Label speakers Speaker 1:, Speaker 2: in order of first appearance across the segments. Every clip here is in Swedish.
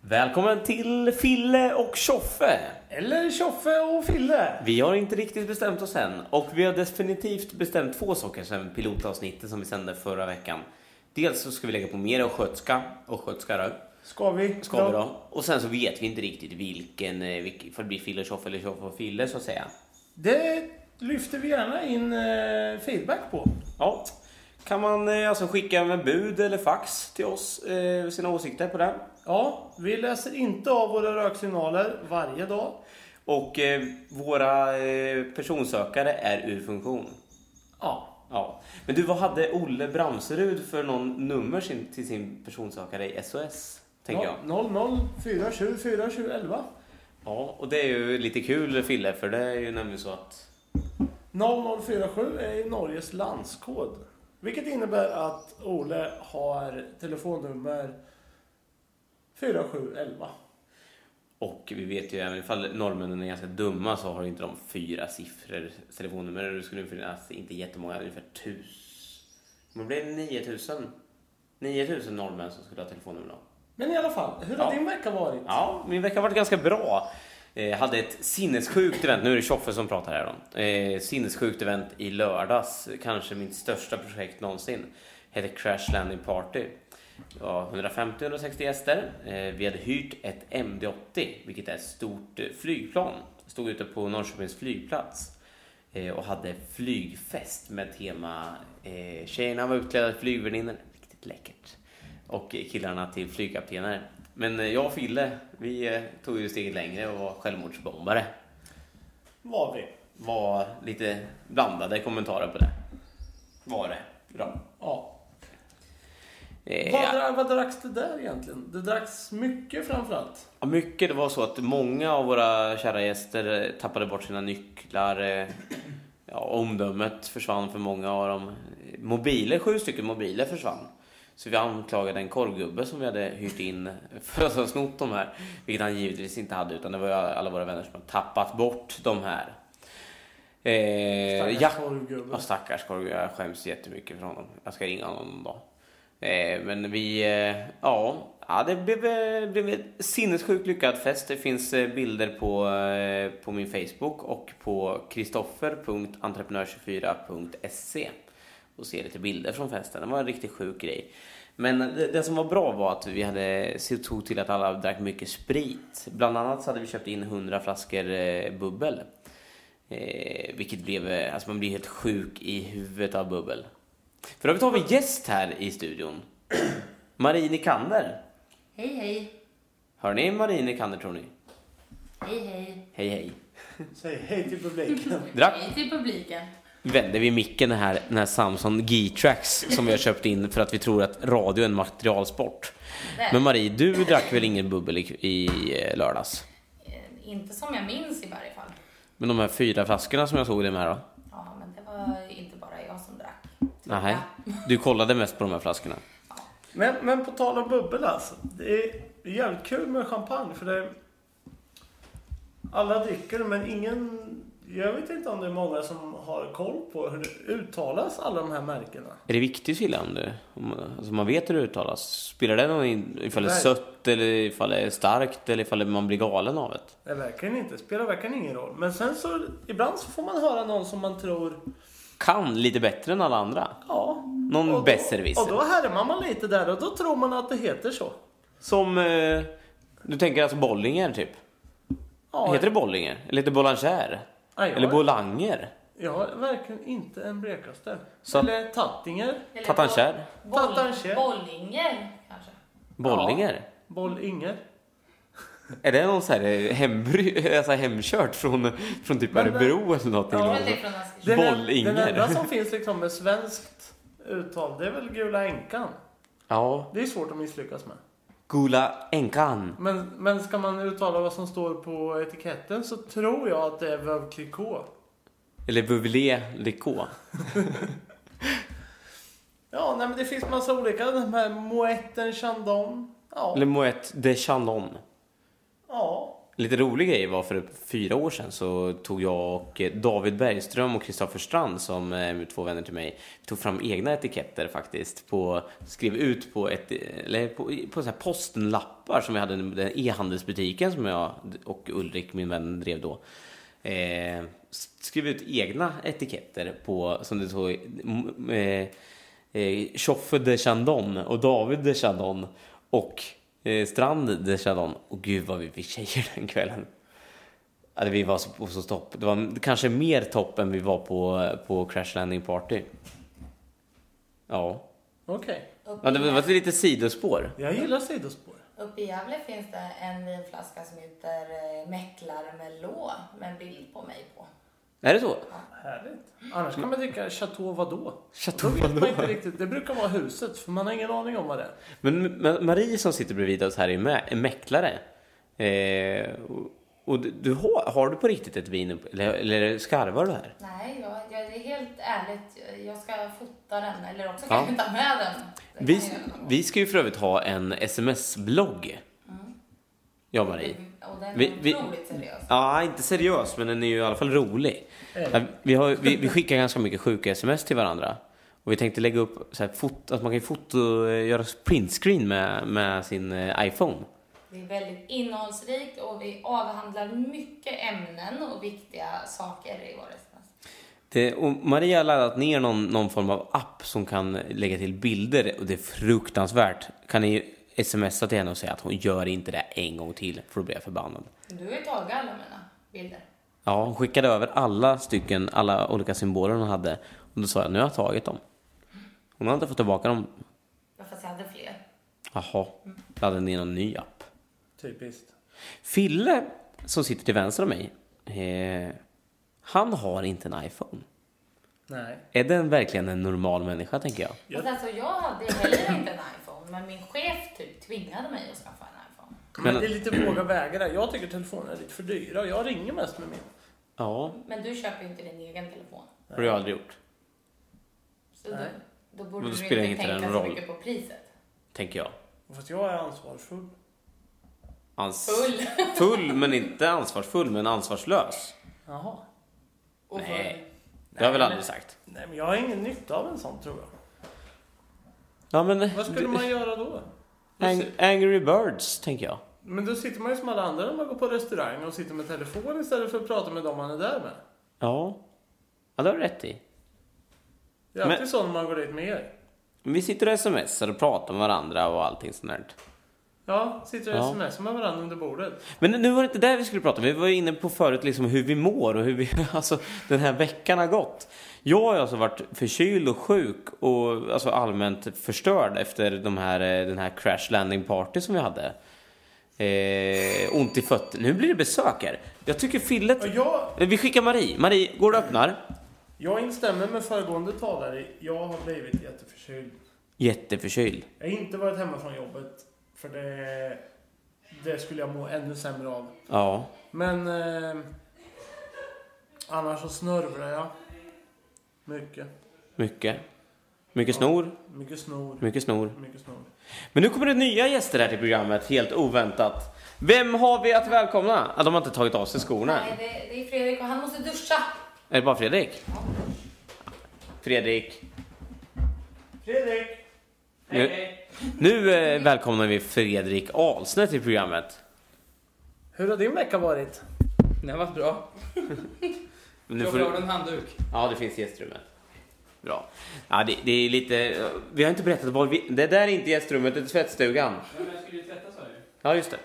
Speaker 1: Välkommen till Fille och Tjoffe!
Speaker 2: Eller Tjoffe och Fille.
Speaker 1: Vi har inte riktigt bestämt oss än och vi har definitivt bestämt två saker sedan pilotavsnittet som vi sände förra veckan. Dels så ska vi lägga på mer och skötska och skötska då.
Speaker 2: Ska vi?
Speaker 1: Ska vi då. Och sen så vet vi inte riktigt vilken, eh, vilk- för det blir Fille och Tjoffe eller Tjoffe och Fille så att säga.
Speaker 2: Det lyfter vi gärna in eh, feedback på.
Speaker 1: Ja. Kan man eh, alltså skicka med bud eller fax till oss eh, sina åsikter på det?
Speaker 2: Ja, vi läser inte av våra röksignaler varje dag.
Speaker 1: Och eh, våra eh, personsökare är ur funktion.
Speaker 2: Ja.
Speaker 1: Ja. Men du, vad hade Olle Bramserud för någon nummer sin, till sin personsökare i SOS? Tänker jag.
Speaker 2: 00474711.
Speaker 1: Ja, och det är ju lite kul Fille, för det är ju nämligen så att...
Speaker 2: 0047 är ju Norges landskod. Vilket innebär att Ole har telefonnummer 4711.
Speaker 1: Och vi vet ju även ifall norrmännen är ganska dumma så har ju inte de fyra siffror telefonnummer. Det skulle ju finnas Alltså, inte jättemånga, ungefär tus... Men det blir 9000. 9000 norrmän som skulle ha telefonnummer då.
Speaker 2: Men i alla fall, hur har
Speaker 1: Ja.
Speaker 2: din vecka varit?
Speaker 1: Ja, min vecka har varit ganska bra. Eh, hade ett sinnessjukt event, nu är det Tjoffe som pratar här då. Eh, sinnessjukt event i lördags, kanske mitt största projekt någonsin. Hette Crash Landing Party. Det var 150-160 gäster. Eh, vi hade hyrt ett MD-80, vilket är ett stort eh, flygplan. Stod ute på Norrköpings flygplats eh, och hade flygfest med tema eh, tjejerna var utklädda till flygvärdinnor. Riktigt läckert. Och eh, killarna till flygkaptener. Men eh, jag och Fille, vi eh, tog ju steget längre och var självmordsbombare.
Speaker 2: Var vi?
Speaker 1: Var lite blandade kommentarer på det. Var det. Bra.
Speaker 2: Ja.
Speaker 1: Eh,
Speaker 2: Vad,
Speaker 1: ja.
Speaker 2: dra- vad dracks det där egentligen? Det dracks mycket framförallt.
Speaker 1: Ja, Mycket, det var så att många av våra kära gäster eh, tappade bort sina nycklar. eh, Ja, omdömet försvann för många av dem. Eh, Mobiler, sju stycken mobiler försvann. Så vi anklagade en korvgubbe som vi hade hyrt in för att ha snott de här. Vilket han givetvis inte hade, utan det var ju alla våra vänner som hade tappat bort de här. Eh,
Speaker 2: Stackars
Speaker 1: ja,
Speaker 2: korvgubbe.
Speaker 1: Ja, stackars korvgubbe. Jag skäms jättemycket för honom. Jag ska ringa honom någon dag. Eh, men vi, eh, ja. Ja, det blev, eh, blev en sinnessjukt lyckad fest. Det finns eh, bilder på, eh, på min Facebook och på kristoffer.entreprenör24.se och se lite bilder från festen. Det var en riktigt sjuk grej. Men det, det som var bra var att vi hade sett till att alla drack mycket sprit. Bland annat så hade vi köpt in 100 flaskor eh, bubbel. Eh, vilket blev, eh, alltså man blir helt sjuk i huvudet av bubbel. För övrigt har vi gäst här i studion. Marie Nikander.
Speaker 3: Hej hej!
Speaker 1: Hör ni Marie Nikander tror ni?
Speaker 3: Hej hej!
Speaker 1: Hej hej.
Speaker 2: Säg hej till publiken.
Speaker 1: Drack
Speaker 3: Hej till publiken!
Speaker 1: vände vi micken här, den här Samsung G-Trax som vi har köpt in för att vi tror att radio är en materialsport.
Speaker 3: Nej.
Speaker 1: Men Marie, du drack väl ingen bubbel i, i eh, lördags?
Speaker 3: Eh, Inte som jag minns i varje fall.
Speaker 1: Men de här fyra flaskorna som jag såg dig med då?
Speaker 3: Ja, men det var inte bara jag som drack.
Speaker 1: Nej. Du kollade mest på de här flaskorna?
Speaker 2: men, men på tal om bubbel alltså. Det är jävligt kul med champagne för det... Alla dricker men ingen... Jag vet inte om det är många som har koll på hur det uttalas alla de här märkena.
Speaker 1: Är det viktigt Fille om det? Om, alltså man vet hur det uttalas? Spelar det någon in, ifall det är
Speaker 2: Nej.
Speaker 1: sött eller ifall det är starkt eller ifall man blir galen av det?
Speaker 2: Det verkligen inte. Spelar verkligen ingen roll. Men sen så... Ibland så får man höra någon som man tror...
Speaker 1: Kan lite bättre än alla andra.
Speaker 2: Ja.
Speaker 1: Någon
Speaker 2: och då-
Speaker 1: besserwisser.
Speaker 2: Och då härmar man lite där och då tror man att det heter så.
Speaker 1: Som... Eh, du tänker alltså Bollinger typ?
Speaker 2: Ja,
Speaker 1: Heter det Bollinger? Eller heter det Bollanger?
Speaker 2: Ja, ja.
Speaker 1: Eller Bolanger?
Speaker 2: Jag har verkligen inte en blekaste.
Speaker 1: Så-
Speaker 2: Eller Tattinger.
Speaker 3: Eller
Speaker 1: Tattankär?
Speaker 3: boll- boll-
Speaker 2: Tattankär.
Speaker 3: Bollinger, kanske.
Speaker 1: Bollinger?
Speaker 2: Boll-Inger.
Speaker 1: Är det någon så här eh, hembry, alltså hemkört från, från typ
Speaker 2: Men,
Speaker 1: Örebro eller någonting?
Speaker 2: Ja,
Speaker 3: Jag
Speaker 1: då?
Speaker 3: tror att det är från Askersund.
Speaker 2: Den en-
Speaker 1: Boll-Inger.
Speaker 2: Den enda som finns liksom med svenskt uttal, det är väl Gula Änkan.
Speaker 1: ja.
Speaker 2: Det är svårt att misslyckas med.
Speaker 1: Gula Enkan.
Speaker 2: Men, men ska man uttala vad som står på etiketten så tror jag att det är Veuve Clicquot.
Speaker 1: Eller Buvlé Likå.
Speaker 2: Ja, nej men det finns massa olika. De här Moetten Chandon. Ja.
Speaker 1: Eller Moët de Chandon.
Speaker 2: ja.
Speaker 1: En lite rolig grej var för fyra år sedan så tog jag och eh, David Bergström och Kristoffer Strand som eh, två vänner till mig tog fram egna etiketter faktiskt. På, skrev ut på, ett, eller på, på så här postenlappar som vi hade i den e-handelsbutiken som jag och Ulrik, min vän, drev då. Eh, s- skrev ut egna etiketter på, som det stod, m- eh, eh, Tjoffe de Chandon och David de Chandon och eh, Strand de Chandon. Och gud vad vi fick tjejer den kvällen. Alltså, vi var så, på så topp. Det var kanske mer topp än vi var på, på Crash Landing Party. Ja.
Speaker 2: Okej.
Speaker 1: ja det var det var lite sidospår.
Speaker 2: Jag gillar sidospår.
Speaker 3: Uppe i Gävle finns det en vinflaska som heter eh, Mäcklarmelå med en bild på mig på.
Speaker 1: Är det så?
Speaker 2: Härligt. Annars kan man dricka Chateau Vadå?
Speaker 1: Chateau
Speaker 2: Då vet man
Speaker 1: Vadå?
Speaker 2: inte riktigt. Det brukar vara huset, för man har ingen aning om vad det är.
Speaker 1: Men Ma- Marie som sitter bredvid oss här är, mä- är mäklare. Eh, och- och du, du har, har du på riktigt ett vin? upp- Eller, eller skarvar du här?
Speaker 3: Nej, jag, jag är helt ärligt. Jag ska fota den eller också
Speaker 1: Ja.
Speaker 3: kan jag ta med den. Det kan
Speaker 1: Vi,
Speaker 3: jag göra någon gång.
Speaker 1: vi ska ju för övrigt ha en sms-blogg. Ja, Marie.
Speaker 3: Mm, Och den är
Speaker 1: vi- vi-
Speaker 3: otroligt seriös.
Speaker 1: Ja, inte seriös, men den är ju i alla fall rolig. Ja, Vi, har, vi, vi skickar ganska mycket sjuka sms till varandra. Och vi tänkte lägga upp så här, fot, att man kan ju foto, göra printscreen med, med sin eh, iPhone.
Speaker 3: Det är väldigt innehållsrikt och vi avhandlar mycket ämnen och viktiga saker i vår sms.
Speaker 1: Det, och Maria har laddat ner någon, någon form av app som kan lägga till bilder och det är fruktansvärt. Kan ni smsa till henne och säga att hon gör inte det en gång till för då blir jag förbannad.
Speaker 3: Du har ju tagit alla mina bilder.
Speaker 1: Ja, hon skickade över alla stycken, alla olika symboler hon hade. Och då sa jag, nu har jag tagit dem. Hon har inte fått tillbaka dem.
Speaker 3: Jag fast jag hade fler.
Speaker 1: Jaha, laddade ner någon ny app.
Speaker 2: Typiskt.
Speaker 1: Fille, som sitter till vänster om mig, eh, han har inte en iPhone.
Speaker 2: Nej.
Speaker 1: Är den verkligen en normal människa, tänker jag?
Speaker 2: Ja.
Speaker 3: Fast alltså jag hade heller inte en iPhone, men min chef typ tvingade mig att skaffa en iPhone.
Speaker 2: Men
Speaker 1: Men-
Speaker 2: det är lite våga vägar där. Jag tycker telefonerna är lite för dyra och jag ringer mest med min.
Speaker 1: Ja,
Speaker 3: Men du köper ju inte din egen telefon.
Speaker 1: det har jag aldrig gjort,
Speaker 3: Så då,
Speaker 2: Nej.
Speaker 3: då
Speaker 1: Men
Speaker 3: borde
Speaker 1: då
Speaker 3: du
Speaker 1: spelar
Speaker 3: inte
Speaker 1: inte det
Speaker 3: tänka
Speaker 1: någon
Speaker 3: så
Speaker 1: roll.
Speaker 3: mycket på priset.
Speaker 1: tänker jag.
Speaker 2: Fast jag är ansvarsfull.
Speaker 1: Ans-
Speaker 3: Full.
Speaker 1: Full, men inte ansvarsfull, men ansvarslös.
Speaker 2: Jaha.
Speaker 3: Och full.
Speaker 1: Nej. Det har jag väl aldrig sagt.
Speaker 2: Nej, men jag har ingen nytta av en sån tror jag.
Speaker 1: Ja, men...
Speaker 2: Vad skulle man göra då?
Speaker 1: Ang- Angry Birds, tänker jag.
Speaker 2: Men då sitter man ju som alla andra när man går på restaurang och sitter med telefon istället för att prata med dem man är där med.
Speaker 1: Ja. Ja, det har du rätt i.
Speaker 2: Det är alltid
Speaker 1: Men-
Speaker 2: så när man går dit med er.
Speaker 1: Men Vi sitter och smsar och pratar med varandra och allting sånt där.
Speaker 2: Ja, sitter och
Speaker 1: Ja.
Speaker 2: smsar med varandra under bordet.
Speaker 1: Men nu var det inte där vi skulle prata om. Vi var ju inne på förut liksom hur vi mår och hur vi, alltså den här veckan har gått. Jag har ju alltså varit förkyld och sjuk och alltså allmänt förstörd efter de här, eh, den här crash landing party som vi hade. Eh, ont i fötterna. Nu blir det besök här. Jag tycker fillet...
Speaker 2: Och jag,
Speaker 1: Vi skickar Marie. Marie, går du och öppnar?
Speaker 2: jag instämmer med föregående talare. Jag har blivit jätteförkyld.
Speaker 1: Jätteförkyld.
Speaker 2: Jag har inte varit hemma från jobbet. För det, det skulle jag må ännu sämre av.
Speaker 1: Ja.
Speaker 2: Men eh, annars så snörvlar jag. Mycket.
Speaker 1: Mycket. Mycket snor.
Speaker 2: Mycket snor.
Speaker 1: Mycket snor.
Speaker 2: Mycket snor.
Speaker 1: Men nu kommer det nya gäster här till programmet, helt oväntat. Vem har vi att välkomna? Ah, de har inte tagit av sig skorna
Speaker 3: Nej,
Speaker 1: än.
Speaker 3: det, det är Fredrik och han måste duscha.
Speaker 1: Är det bara Fredrik? Fredrik.
Speaker 2: Fredrik!
Speaker 1: Nu, nu eh, välkomnar vi Fredrik Alsne till programmet.
Speaker 2: Hur har din vecka varit?
Speaker 4: Det har varit bra.
Speaker 1: Men Nu
Speaker 4: Jag
Speaker 1: får
Speaker 4: får
Speaker 1: du,
Speaker 4: en handduk.
Speaker 1: ja, det finns gästrummet. Bra. Ja, det, det är lite... Vi har inte berättat vad vi... Det där är inte gästrummet, det är tvättstugan.
Speaker 4: Men jag skulle ju tvätta sa jag ju.
Speaker 1: Ja, just det.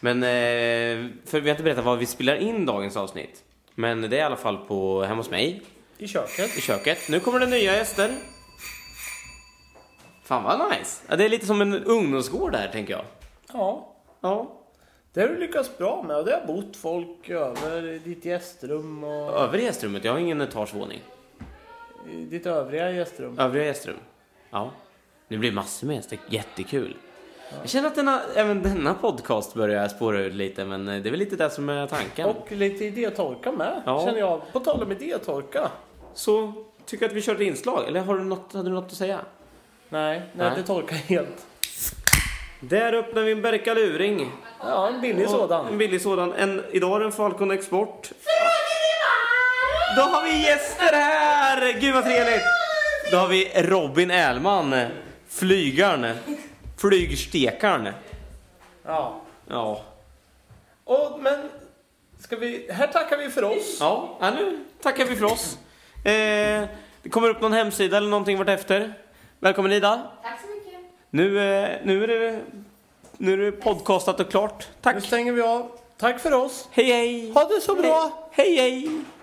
Speaker 1: Men, eh, för vi har inte berättat var vi spelar in dagens avsnitt. Men det är i alla fall på, hemma hos mig,
Speaker 2: I köket.
Speaker 1: i köket. Nu kommer det nya gäster. Fan vad nice! Ja, det är lite som en ungdomsgård där, tänker jag.
Speaker 2: Ja.
Speaker 1: Ja.
Speaker 2: Det har du lyckats bra med och det har bott folk över i ditt gästrum och
Speaker 1: Övriga gästrummet, jag har ingen etagevåning.
Speaker 2: i ditt övriga gästrum.
Speaker 1: Övriga gästrum. Ja. Det blir massor med gäster, jättekul. Jag känner att denna, även denna podcast börjar spåra ut lite, men eh, det är väl lite det som är tanken.
Speaker 2: Och lite idétorka med,
Speaker 1: Ja.
Speaker 2: känner jag. På tal om idétorka.
Speaker 1: så tycker jag att vi kör ett inslag, eller har du något, hade du något att säga?
Speaker 2: Nej, nej,
Speaker 1: Nej.
Speaker 2: det torkar helt.
Speaker 1: Där öppnar vi en Berkaluring.
Speaker 2: Ja, en billig
Speaker 1: En
Speaker 2: sådan.
Speaker 1: billig sådan. En, idag är det en Falcon Export. Då har vi gäster här! Gud vad trevligt! Då har vi Robin Ählman, flygaren, flygstekaren.
Speaker 2: Ja.
Speaker 1: Ja,
Speaker 2: Och, men, ska vi... Här tackar vi för oss.
Speaker 1: ja, ja nu tackar vi för oss. Eh, det kommer upp någon hemsida eller någonting vartefter. Välkommen Ida!
Speaker 3: Tack så mycket.
Speaker 1: Nu, eh, nu, är det, nu är det podcastat och klart.
Speaker 2: Nu
Speaker 1: Tack!
Speaker 2: stänger vi av. Tack för oss.
Speaker 1: Hej hej!
Speaker 2: Ha det så bra.
Speaker 1: Hej hej!